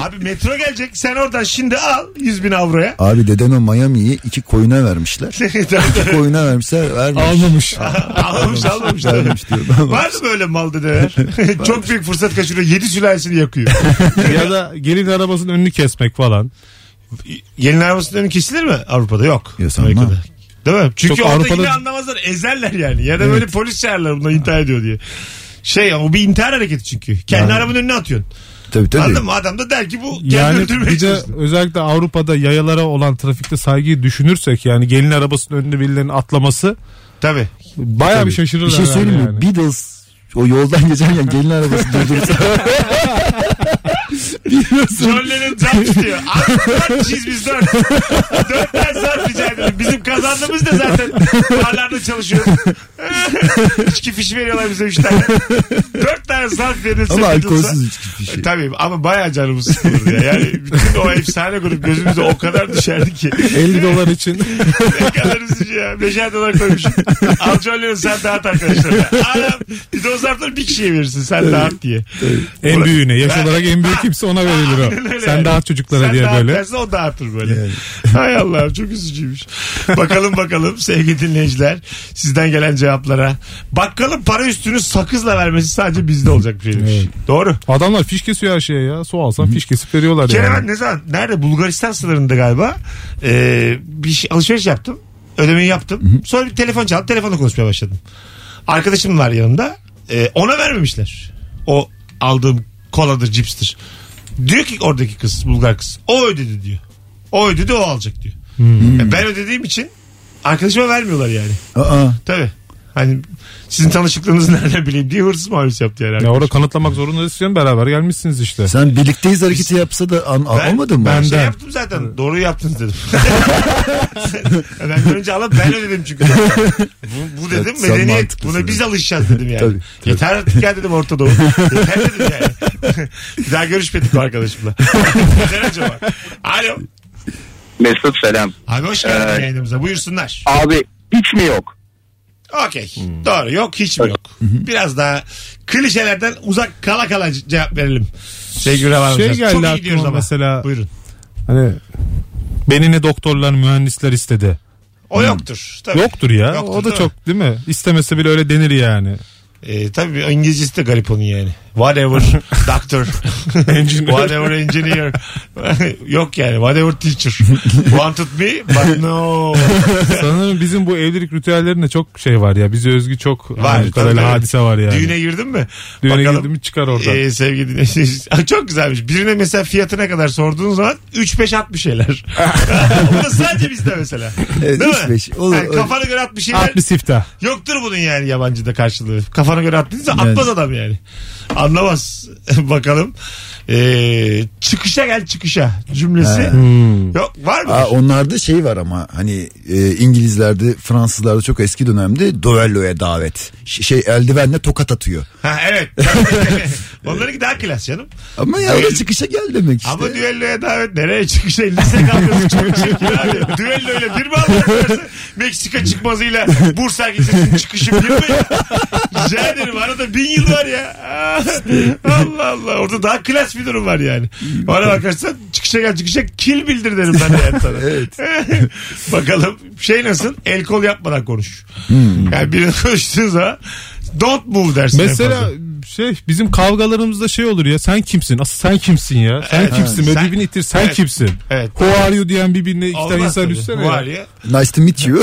abi metro gelecek sen oradan şimdi al 100 bin avroya. Abi dedeme Miami'yi iki koyuna vermişler. Tabii. iki koyuna vermişler vermiş. Almamış. almamış almamış. Vermiş diyor. Var mı böyle mal dedeler? Çok büyük fırsat kaçırıyor. 7 sülalesini yakıyor. ya da gelin arabasının önünü kesmek falan. Yeni arabasının önü kesilir mi Avrupa'da? Yok. Ya sanmam. Amerika'da. Değil mi? Çünkü Çok orada Avrupa'da- yine anlamazlar. Ezerler yani. Ya da böyle polis çağırırlar bundan intihar ediyor diye. Şey o bir intihar hareketi çünkü. Kendi arabanın önüne atıyorsun. Tabii tabii. Anladın mı? Adam da der ki bu kendi Yani öldürmeye bir de çalıştı. özellikle Avrupa'da yayalara olan trafikte saygıyı düşünürsek yani gelin arabasının önünde birilerinin atlaması Tabii. baya bir şaşırırlar. Bir şey söyleyeyim mi? yani. Beatles o yoldan geçerken gelin arabası durdursa. Biliyorsun. John Lennon zarf istiyor. Abi dört çiz biz dört. Dört tane zarf rica edelim. Bizim kazandığımız da zaten barlarda çalışıyoruz. İçki fişi veriyorlar bize üç tane. Dört tane zarf verilse. Ama Beatles'a- alkolsüz içki bir şey. Tabii ama bayağı canımız sıkılır ya. Yani bütün o efsane grup gözümüze o kadar düşerdi ki. 50 dolar için ne kadar üzücü ya. Beşer dolar koymuşum. Al John Lennon sen dağıt arkadaşlar. Anam bir de o zarfları bir kişiye verirsin sen dağıt diye. en büyüğüne yaş olarak en büyük kimse ona verilir Aynen o. öyle Sen yani. dağıt çocuklara Sen diye dağıt böyle. dersen o dağıtır böyle. Hay Allah'ım çok üzücüymüş. bakalım bakalım sevgili dinleyiciler sizden gelen cevaplara. Bakkalın para üstünü sakızla vermesi sadece bizde olacak bir şeymiş. Doğru. Adamlar fiş kesiyor her şeye ya. Su alsan fiş kesip veriyorlar Bir kere ben yani. ne zaman nerede Bulgaristan sınırında galiba Ee, bir şey, alışveriş yaptım. Ödemeyi yaptım. Sonra bir telefon çaldı. Telefonla konuşmaya başladım. Arkadaşım var yanımda. Ee, ona vermemişler. O aldığım koladır, cipstir. Diyor ki oradaki kız, Bulgar kız. O ödedi diyor. O ödedi o alacak diyor. Ya Ben ödediğim için arkadaşıma vermiyorlar yani. Aa, Tabii. Hani sizin tanışıklığınızı nereden bileyim diye hırsız muamelesi yaptı yani. Ya orada kanıtlamak zorunda değilsin beraber gelmişsiniz işte. sen birlikteyiz hareketi yapsa da an, Ben- almadın mı? Ben şey Benden. yaptım zaten. Doğru yaptınız dedim. ben önce alıp ben ödedim çünkü. Bu, bu dedim Evet, sen medeniyet. mantıklısın. Buna biz alışacağız dedim yani. Tabii, tabii. Yeter artık ya dedim Orta Doğu. Yeter dedim yani. bir daha görüşmedik bu arkadaşımla. Neden acaba? Alo. Mesut selam. Abi hoş geldin Evet. yayınımıza. Buyursunlar. Abi hiç mi yok? Okey. Doğru. Yok hiç mi yok? Biraz daha klişelerden uzak kala kala ce- cevap verelim. Sevgili Ravan Şey Hocam. geldi Çok iyi aklıma gidiyoruz ama. mesela. Buyurun. Hani beni ne doktorlar mühendisler istedi. O yoktur. Tabii. Hmm. Yoktur ya. Yoktur, o da değil mi? çok değil mi? İstemese bile öyle denir yani. E, tabii İngilizcesi de garip onun yani. Whatever doctor. Engineer. whatever engineer. Yok yani whatever teacher. Wanted me but no. Sanırım bizim bu evlilik ritüellerinde çok şey var ya. Bize özgü çok Var. var, Tabii. hadise var yani. Düğüne girdin mi? Düğüne Bakalım. girdim mi çıkar oradan. Ee, sevgili dinleyiciler. Ay, Çok güzelmiş. Birine mesela fiyatı ne kadar sorduğun zaman 3-5 at bir şeyler. Bu da sadece bizde mesela. Evet, Değil mi? 3-5. Olur, Yani öyle. kafana göre at bir şeyler. At bir siftah. Yoktur bunun yani yabancıda karşılığı. Kafana kafana göre attıysa atmaz adam yani. Anlamaz. Bakalım. Ee, çıkışa gel çıkışa cümlesi. Yok var mı? Aa, onlarda şey var ama hani e, İngilizlerde Fransızlarda çok eski dönemde duelloya davet. Ş- şey eldivenle tokat atıyor. Ha evet. Onlarınki daha klas canım. Ama ya o da Düell- çıkışa gel demek işte. Ama düelloya davet nereye çıkışa lise kalkıyorsun çok çirkin abi. Düelloyla bir mi anlatıyorsun? Meksika çıkmazıyla Bursa Lisesi'nin çıkışı bir mi? Rica ederim arada bin yıl var ya. Allah Allah orada daha klas bir durum var yani. Bana bakarsan çıkışa gel çıkışa kil bildir derim ben de sana. evet. Bakalım şey nasıl el kol yapmadan konuş. Yani birini konuştuğun zaman don't move dersin. en Hmm. Mesela fazla. şey bizim kavgalarımızda şey olur ya sen kimsin asıl sen kimsin ya sen Evet. kimsin Sen- ödevini itir sen Evet. kimsin Evet. Who are you diyen birbirine iki tane Olmaz insan tabii. üstsene Var ya. ya. Nice to meet you.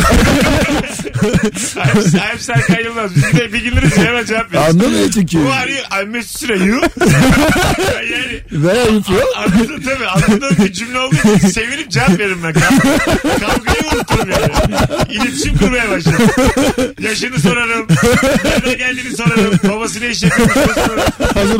Hem Serkan Yılmaz. Biz bir de bir gülürüz hemen cevap veririz. Anlamıyor çünkü. Bu var ya I'm Mesut Süre you. yani Where are you from? anladın tabii anladığım bir cümle olduğu için sevinip cevap veririm ben. Kav- Kavgayı unuttum yani. İletişim kurmaya başladım. Yaşını sorarım. Nereden geldiğini sorarım. Babası ne iş yapıyor sorarım. hazır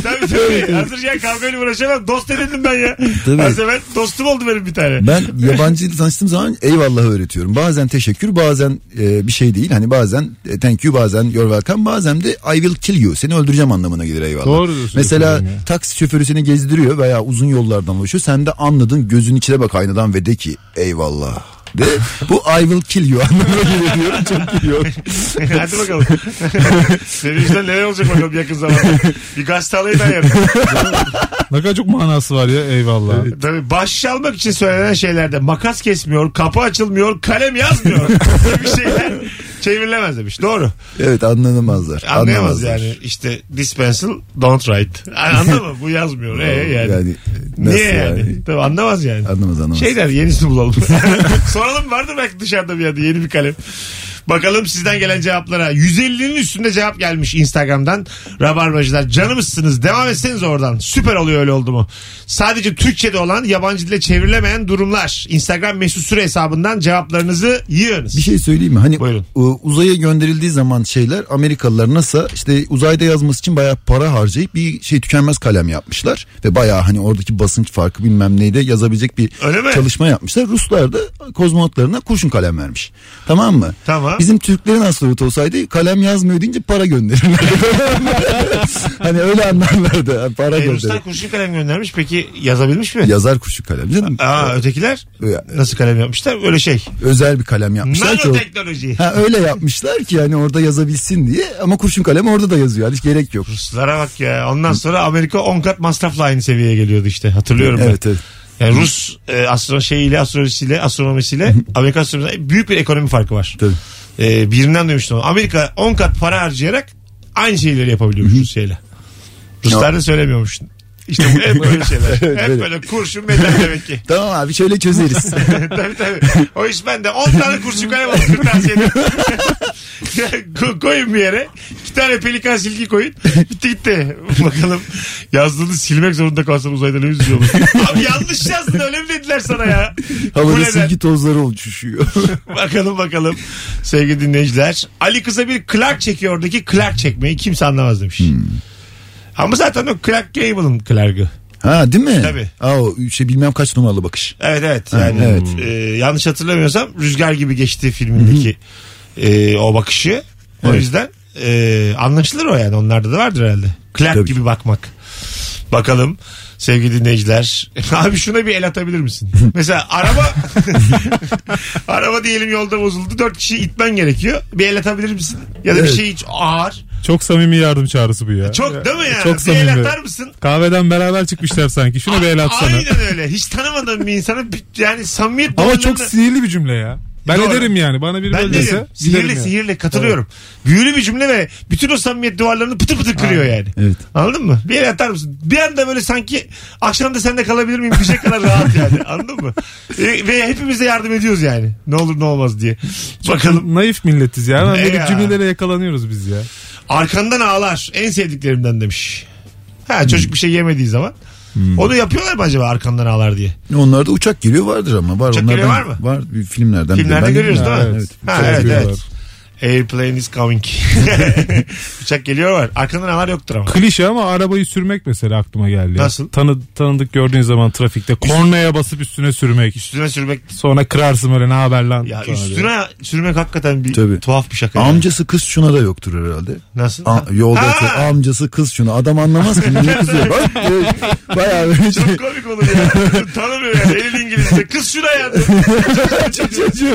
Tabii tabii. Hazır ya kavgayla uğraşamam. Dost edindim ben ya. Tabii. Az evvel dostum oldu benim bir tane. Ben yabancı dil tanıştığım zaman eyvallah öğretiyorum. Bazen teşekkür, bazen e, bir şey değil. Hani bazen e, thank you, bazen you're welcome, bazen de I will kill you. Seni öldüreceğim anlamına gelir eyvallah. Doğru diyorsun. Mesela Efendim ya. taksi şoförü seni gezdiriyor veya uzun yollardan ulaşıyor. Sen de anladın gözün içine bak aynadan ve de ki eyvallah. De, bu I will kill you anlamına geliyor diyorum. Çok gülüyor. Hadi bakalım. Sevinçten neler olacak bakalım yakın zamanda. Bir gazete alayım ben yarın. ne kadar çok manası var ya eyvallah Tabii baş almak için söylenen şeylerde makas kesmiyor, kapı açılmıyor, kalem yazmıyor. bir şeyler çevrilemez demiş. Doğru. Evet anlanamazlar. Anlayamaz Anlamazlar. yani. İşte this pencil don't write. Anladın mı? Bu yazmıyor. E, yani. Yani, nasıl Niye yani? Tabii anlamaz yani. Anlamaz anlamaz. Şey der yenisini bulalım. Soralım vardır belki dışarıda bir yerde yeni bir kalem. Bakalım sizden gelen cevaplara. 150'nin üstünde cevap gelmiş Instagram'dan. Rabarbacılar canımızsınız. Devam etseniz oradan. Süper oluyor öyle oldu mu? Sadece Türkçe'de olan yabancı dile çevrilemeyen durumlar. Instagram mesut süre hesabından cevaplarınızı yığınız. Bir şey söyleyeyim mi? Hani Buyurun. e, uzaya gönderildiği zaman şeyler Amerikalılar NASA işte uzayda yazması için bayağı para harcayıp bir şey tükenmez kalem yapmışlar. Ve bayağı hani oradaki basınç farkı bilmem neyde yazabilecek bir Öyle mi? çalışma yapmışlar. Ruslar da kozmonotlarına kurşun kalem vermiş. Tamam mı? Tamam. Bizim Türklerin astronot olsaydı kalem yazmıyor deyince para gönderirlerdi. hani öyle anlarlardı. Yani Para E, gönderir. Ruslar kurşun kalem göndermiş. Peki yazabilmiş mi? Yazar kurşun kalem canım. Aa ötekiler Ya. nasıl kalem yapmışlar? Öyle şey. Özel bir kalem yapmışlar ki o- Nanoteknoloji. Ha öyle yapmışlar ki yani orada yazabilsin diye ama kurşun kalem orada da yazıyor. Yani hiç gerek yok. Ruslara bak ya. Ondan sonra Amerika 10 kat masrafla aynı seviyeye geliyordu işte. Hatırlıyorum ben. Evet evet. Yani Rus e, astro şeyiyle astronomisiyle astronomisiyle Amerika astronomisiyle büyük bir ekonomi farkı var. Tabii. E, birinden duymuştum. onu. Amerika 10 kat para harcayarak aynı şeyleri yapabiliyormuş Rusya'yla. Ruslar da söylemiyormuş. İşte bu hep böyle şeyler. hep Böyle. böyle kurşun metal demek ki. Tamam abi şöyle çözeriz. tabii tabii. O iş bende. 10 tane kurşun kalem alıp kırtasiyede. Ko- koyun bir yere. İki tane pelikan silgi koyun. Bitti gitti. Bakalım yazdığını silmek zorunda kalsan uzayda ne üzülüyor olur. Abi yanlış yazdın öyle mi dediler sana ya? Bu Havada neden? silgi tozları uçuşuyor. Bakalım bakalım sevgili dinleyiciler. Ali kıza bir Clark çekiyordaki Clark çekmeyi kimse anlamaz demiş. Ama zaten o Clark Gable'ın Clark'ı. ha değil mi? Tabii. Aa, o şey bilmem kaç numaralı bakış. Evet evet. Yani, evet. e, yanlış hatırlamıyorsam Rüzgar gibi geçti filmindeki e, o bakışı. O Evet. yüzden e, anlaşılır o yani. Onlarda da vardır herhalde. Clark Tabii gibi bakmak. Bakalım sevgili dinleyiciler. Abi şuna bir el atabilir misin? Mesela araba araba diyelim yolda bozuldu. Dört kişi itmen gerekiyor. Bir el atabilir misin? Ya da bir Evet. şey hiç ağır. çok samimi yardım çağrısı bu ya Çok değil mi yani? çok bir el samimi atar mısın? kahveden beraber çıkmışlar sanki şunu bir el atsana Aynen öyle. Hiç tanımadığım bir insana bir- yani samimiyet ama bağlarında- çok sinirli bir cümle ya ben Doğru. ederim yani bana biri Ben böyle derim. dese Sihirli giderim yani. sihirli katılıyorum. Büyülü bir cümle ve bütün o samimiyet duvarlarını pıtır pıtır kırıyor yani. Evet. Anladın mı? Bir yere atar mısın? Bir anda böyle sanki akşam da sende kalabilir miyim? Bir şey kadar rahat yani. Anladın mı? E, ve hepimiz de yardım ediyoruz yani. Ne olur ne olmaz diye. Bakalım. naif milletiz ya. Hemen Ne böyle ya? cümlelere yakalanıyoruz biz ya. Arkandan ağlar. En sevdiklerimden demiş. Hmm. Ha çocuk bir şey yemediği zaman. Onu yapıyorlar mı acaba arkandan ağlar diye? Onlarda uçak geliyor vardır ama. Var, Uçak onlardan, geliyor var mı? Var bir filmlerden. biri. Filmlerde Ben- görüyoruz Ha, değil mi? Evet. Ha, Çok evet, diyorlar. evet. Airplane is coming. Uçak geliyor var. Arkanda ne var yoktur ama. Klişe ama arabayı sürmek mesela aklıma geldi. Nasıl? Tanı, tanıdık gördüğün zaman trafikte kornaya basıp üstüne sürmek. Üstüne sürmek. Sonra kırarsın böyle ne haber lan. Ya sonra üstüne diye. sürmek hakikaten bir Tabii. tuhaf bir şaka. yani. Amcası kız şuna da yoktur herhalde. Nasıl? A- yolda Ha! atıyor. amcası kız şuna. Adam anlamaz ki niye kızıyor. Bak, evet. Bayağı böyle şey. Çok komik olur ya. Tanımıyor yani elin İngilizce. Kız şuna yandı.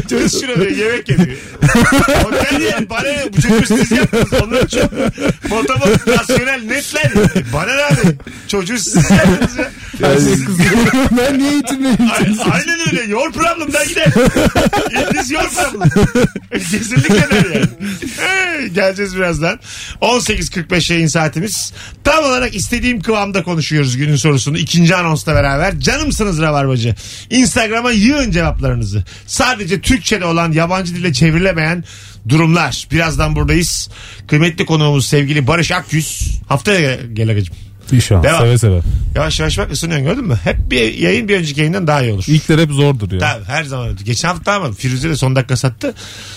Kız şuna diyor yemek yedi. Otel ya bana ne? bu çocuğu siz yaptınız. Onlar çok motomot rasyonel netler. Bana ne abi? Çocuğu siz yaptınız ya. ben niye eğitim Ay- Aynen öyle. Your problem der gider. İngiliz your problem. Kesinlikle der yani. Hey, geleceğiz birazdan. 18.45 yayın saatimiz. Tam olarak istediğim kıvamda konuşuyoruz günün sorusunu. ikinci anonsla beraber. Canımsınız Rabarbacı. Instagram'a yığın cevaplarınızı. Sadece Türkçe'de olan yabancı dile çevrilemeyen durumlar. Birazdan buradayız. Kıymetli konuğumuz sevgili Barış Akyüz. Haftaya gel Agacığım. İnşallah Devam. seve seve. Yavaş yavaş bak ısınıyorsun gördün mü? Hep bir yayın bir önceki yayından daha iyi olur. İlkler hep zordur ya. Tabii her zaman öyle. Geçen hafta ama Firuze de son dakika sattı.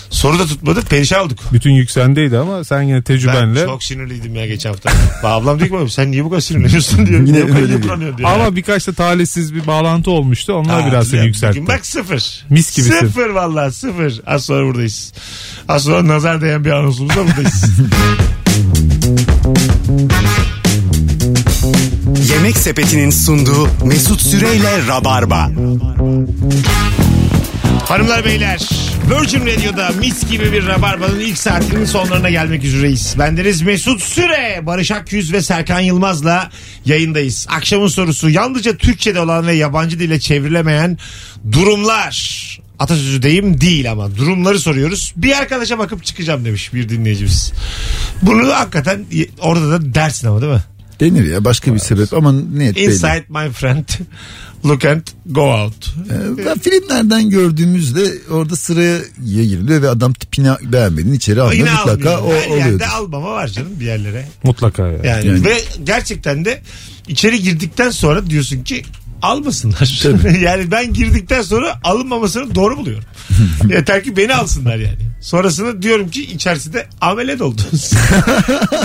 Soru da tutmadı. Perişan olduk. Bütün yüksendeydi ama sen yine Ben tecrübenle. çok sinirliydim ya geçen hafta. Ba- Ablam diyor ki "Oğlum sen niye bu kadar sinirleniyorsun diyor. Yine Niye bu kadar öyle diyor. yıpranıyorsun diyor. Ama birkaç da talihsiz bir bağlantı olmuştu. Onlar Ha, biraz seni bugün yükseltti. Bak sıfır. Mis gibisin. Sıfır vallahi sıfır. Az sonra buradayız. Az sonra nazar değen bir anonsumuzla buradayız. Yemek Sepeti'nin sunduğu Mesut Süreyle Rabarba. Hanımlar beyler Virgin Radio'da mis gibi bir Rabarba'nın ilk saatinin sonlarına gelmek üzereyiz. Bendeniz Mesut Süre, Barış Akyüz ve Serkan Yılmaz'la yayındayız. Akşamın sorusu yalnızca Türkçe'de olan ve yabancı dile çevrilemeyen durumlar. Atasözü deyim değil ama durumları soruyoruz. Bir arkadaşa bakıp çıkacağım demiş bir dinleyicimiz. Bunu da hakikaten orada da dersin ama değil mi? Denir ya başka bir sebep ama niyet belli. Inside my friend. Look and go out. Ee, ben filmlerden gördüğümüzde orada sıraya giriliyor ve adam tipini beğenmediğini içeri alıyor. Yine Mutlaka o almıyor. Her oluyordur. yerde almama var canım bir yerlere. Mutlaka ya. Yani, Yani. ve gerçekten de içeri girdikten sonra diyorsun ki almasınlar. yani ben girdikten sonra alınmamasını doğru buluyorum. Yeter ki beni alsınlar yani. Sonrasında diyorum ki içerisinde amele doldunuz.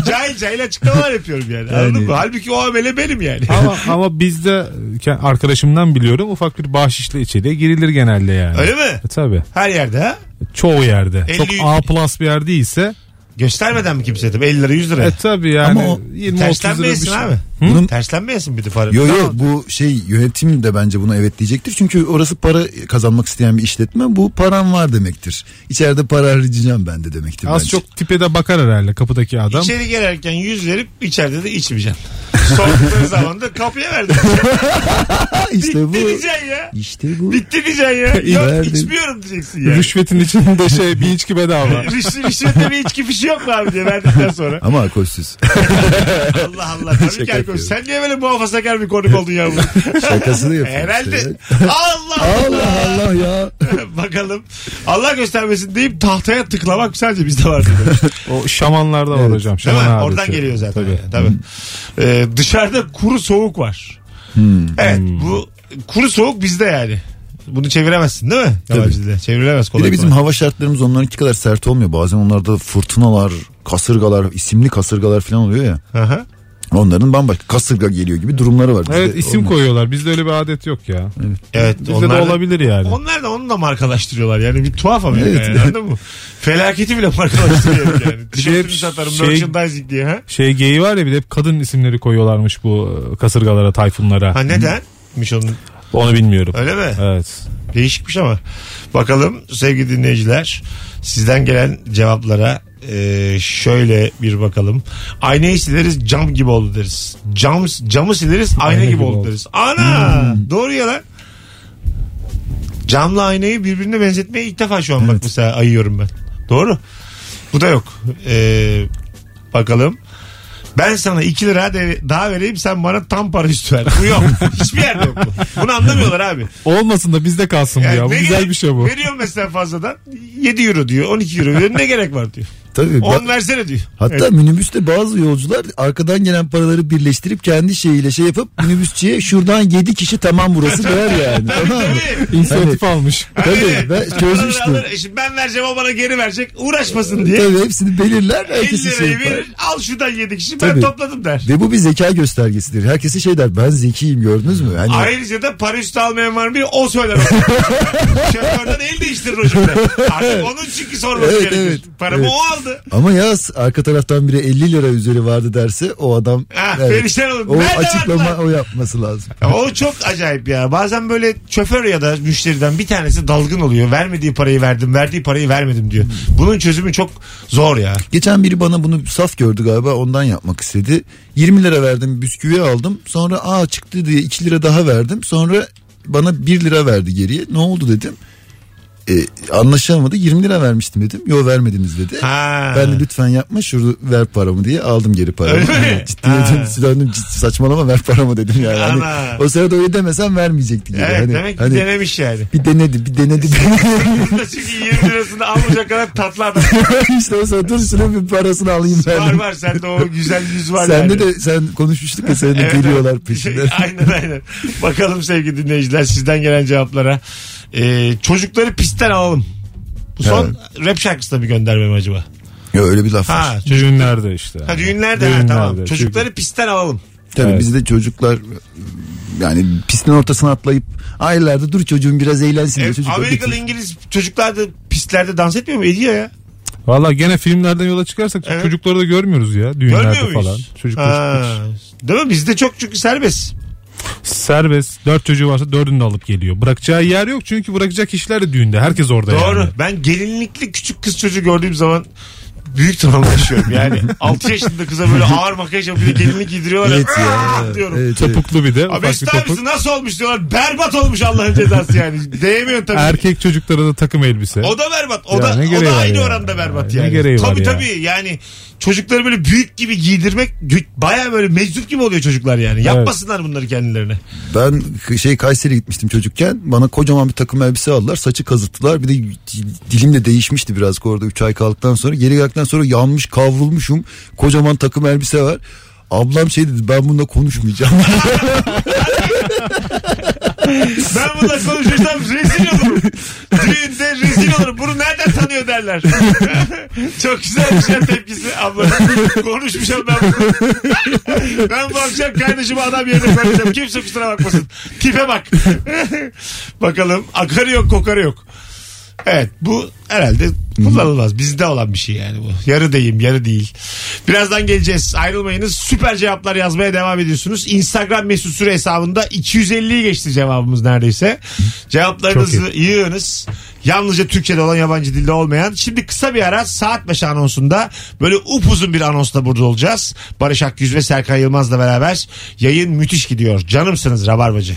cahil cahil açıklamalar yapıyorum yani. Anladın Yani. mı? Halbuki o amele benim yani. ama ama bizde ke- arkadaşımdan biliyorum ufak bir bahşişle içeriye girilir genelde yani. Öyle mi? E, tabii. Her yerde ha? Çoğu yerde. 50 Çok A plus bir yer değilse Göstermeden mi kimseye tabii 50 lira 100 lira. e tabii yani Ama o- 20 30 lira bir Terslenmeyesin şey. abi. Bunun- Terslenmeyesin bir de para. Yo yo bu şey yönetim de bence buna evet diyecektir. Çünkü orası para kazanmak isteyen bir işletme. Bu param var demektir. İçeride para harcayacağım ben de demektir Az bence. çok tipe de bakar herhalde kapıdaki adam. İçeri girerken yüz verip içeride de içmeyeceksin. Sordukları zaman da kapıya verdim. Ha, işte bu. Bitti diyeceksin ya. İşte bu. Bitti diyeceksin ya. Yok Verdim. içmiyorum diyeceksin ya. Rüşvetin içinde şey bir içki bedava. Rüşvet, rüşvette bir şey içki fişi yok mu abi diye verdikten sonra. Ama alkolsüz. Allah Allah. Tabii ki Şaka alkol. yapıyorum. Sen niye böyle muhafazakar bir konuk oldun ya? bu? E, Şakasını yapıyor. Herhalde. işte. Allah Allah Allah ya. Allah. Bakalım. Allah göstermesin deyip tahtaya tıklamak sadece bizde vardı. demiş. O şamanlarda var Evet. hocam. Değil Şaman mi? adeti. Oradan geliyor zaten. Tabii. yani, tabii. Hmm. Ee, dışarıda kuru soğuk var. Evet Hmm. bu kuru soğuk bizde yani. Bunu çeviremezsin değil mi? Yabancı dilde. Çevirilemez Bir kolay de bizim kolay. hava şartlarımız onlarınki kadar sert olmuyor. Bazen onlarda fırtınalar, kasırgalar, isimli kasırgalar falan oluyor ya. Aha. Onların bambaşka kasırga geliyor gibi durumları var. Bizde Evet isim olmaz. koyuyorlar. Bizde öyle bir adet yok ya. Evet, Bizde onlar de da- olabilir yani. Onlar da onu da markalaştırıyorlar yani bir tuhaf ama Evet. yani, anladın mı? Felaketi bile markalaştırıyor yani. Tişörtünü hep satarım şey- merchandising diye ha. Şey geyi var ya bir de hep kadın isimleri koyuyorlarmış bu e, kasırgalara, tayfunlara. Ha nedenmiş onun Onu bilmiyorum. Hani- öyle mi? Evet. Değişikmiş ama. Bakalım sevgili dinleyiciler sizden gelen cevaplara e, şöyle bir bakalım. Aynayı sileriz cam gibi oldu deriz. Cam, camı sileriz ayna, gibi, oldu, Hmm. deriz. Ana doğru ya lan. Camla aynayı birbirine benzetmeye ilk defa şu an bak mesela ayıyorum ben. Doğru. Bu da yok. E, bakalım. Ben sana 2 lira de- daha vereyim sen bana tam para üstü ver. Bu yok. Hiçbir yerde yok bu. Bunu anlamıyorlar abi. Olmasın da bizde kalsın bu Yani ya. Bu ne güzel gerek- bir şey bu. Veriyorum mesela fazladan. 7 euro diyor 12 euro diyor. Ne gerek var diyor. Tabii. ba- 10 versene diyor. Hatta Evet. minibüste bazı yolcular arkadan gelen paraları birleştirip kendi şeyiyle şey yapıp minibüsçiye şuradan 7 kişi tamam burası der yani. tamam mı? İnisiyatif almış. Tabii ben çözmüştüm. Alır, alır. Şimdi ben vereceğim o bana geri verecek. Uğraşmasın diye. Tabii hepsini belirler 50 herkesi şey lirayı yapar. verir. Al şuradan 7 kişi. Ben Tabii. topladım der. Ve bu bir zeka göstergesidir. Herkesi şey der ben zekiyim gördünüz mü? Hani Ayrıca da para üstü almayan var mı diye o söyler. Şoförden el değiştirir o şimdi. Artık onun çünkü sorması Evet, gerekir. evet, Paramı evet. o aldı. Ama yaz arka taraftan biri 50 lira üzeri vardı derse o adam Ah, evet, perişan olur. o Nerede var açıklama lan? o yapması lazım. Ya O çok acayip ya. Bazen böyle şoför ya da müşteriden bir tanesi dalgın oluyor. Vermediği parayı verdim, verdiği parayı vermedim Hmm. diyor. Bunun çözümü çok zor ya. Geçen biri bana bunu saf gördü galiba ondan yapmak istedi. 20 lira verdim bisküvi aldım. Sonra aa çıktı diye 2 lira daha verdim. Sonra bana 1 lira verdi geriye. Ne oldu dedim. E, anlaşılmadı 20 lira vermiştim dedim. Yo vermediniz dedi. Ha. Ben de lütfen yapma şurada ver paramı diye aldım geri paramı. Öyle mi? Ciddiye Ha. döndüm, döndüm, ciddi, saçmalama ver paramı dedim yani. Hani Ana. o sırada öyle demesem vermeyecekti. Gibi. Evet hani, demek ki hani denemiş yani. bir denedi bir denedi. bir denedi. Çünkü 20 lirasını almayacak kadar tatlı adam. işte o sırada dur şuna bir parasını alayım ben. Var var sende o güzel yüz var Sende yani. de sen konuşmuştuk ya senin de Evet, geliyorlar evet. peşinden. aynen aynen. Bakalım sevgili dinleyiciler sizden gelen cevaplara. Ee, çocukları pistten alalım. Bu son rap şarkısı da bir gönderme mi acaba? ya öyle bir laf var. Ha, Düğünlerde işte. ha düğünlerde, ha, tamam. Çünkü- Çocukları pistten alalım. Tabii Evet. bizde çocuklar yani pistin ortasına atlayıp ailelerde dur çocuğum biraz eğlensin diye E, çocuklar Amerikalı getiriyor. İngiliz çocuklar da pistlerde dans etmiyor mu? Ediyor ya. Valla gene filmlerden yola çıkarsak Evet. çocukları da görmüyoruz ya Görmüyor düğünlerde muyuz? falan. Çocuklar Ha, Değil mi? Bizde çok çünkü serbest. serbest. Dört çocuğu varsa dördünü de alıp geliyor. Bırakacağı yer yok çünkü bırakacak kişiler de düğünde. Herkes orada Doğru. yani. Ben gelinlikli küçük kız çocuğu gördüğüm zaman büyük travma yaşıyorum yani. 6 yaşında kıza böyle ağır makyaj yapıp bir de gelinlik giydiriyorlar. Evet ya. "Aa!" diyorum. Evet, evet. Topuklu bir de. Abi ufak bir Mesut abisi topuk. nasıl olmuş diyorlar. Berbat olmuş Allah'ın cezası yani. Değmiyor tabii. Erkek çocuklara da takım elbise. O da berbat. O Ya da, ne o gereği da var aynı ya? oranda berbat Ne yani. gereği var tabii ya? tabii yani çocukları böyle büyük gibi giydirmek gü- baya böyle meczup gibi oluyor çocuklar yani. Yapmasınlar bunları kendilerine. Ben k- şey Kayseri'ye gitmiştim çocukken bana kocaman bir takım elbise aldılar saçı kazıttılar bir de y- dilim de değişmişti biraz orada 3 ay kaldıktan sonra geri geldikten sonra yanmış kavrulmuşum kocaman takım elbise var. Ablam şey dedi ben bununla konuşmayacağım. Ben bununla konuşursam rezil olurum. Düğünde rezil olurum. Bunu nereden tanıyor derler. Çok güzel bir şey tepkisi. Abla konuşmuşum ben bunu. ben bu akşam kardeşimi adam yerine koyacağım. Kimse kusura bakmasın. Tipe bak. Bakalım akarı yok kokarı yok. Evet bu herhalde kullanılmaz. Bizde olan bir şey yani bu. Yarı deyim yarı değil. Birazdan geleceğiz. Ayrılmayınız. Süper cevaplar yazmaya devam ediyorsunuz. Instagram mesut süre hesabında 250'yi geçti cevabımız neredeyse. Cevaplarınızı yığınız. Yalnızca Türkçe'de olan yabancı dilde olmayan. Şimdi kısa bir ara saat başı anonsunda böyle upuzun bir anonsla burada olacağız. Barış Akyüz ve Serkan Yılmaz'la beraber yayın müthiş gidiyor. Canımsınız Rabarbacı.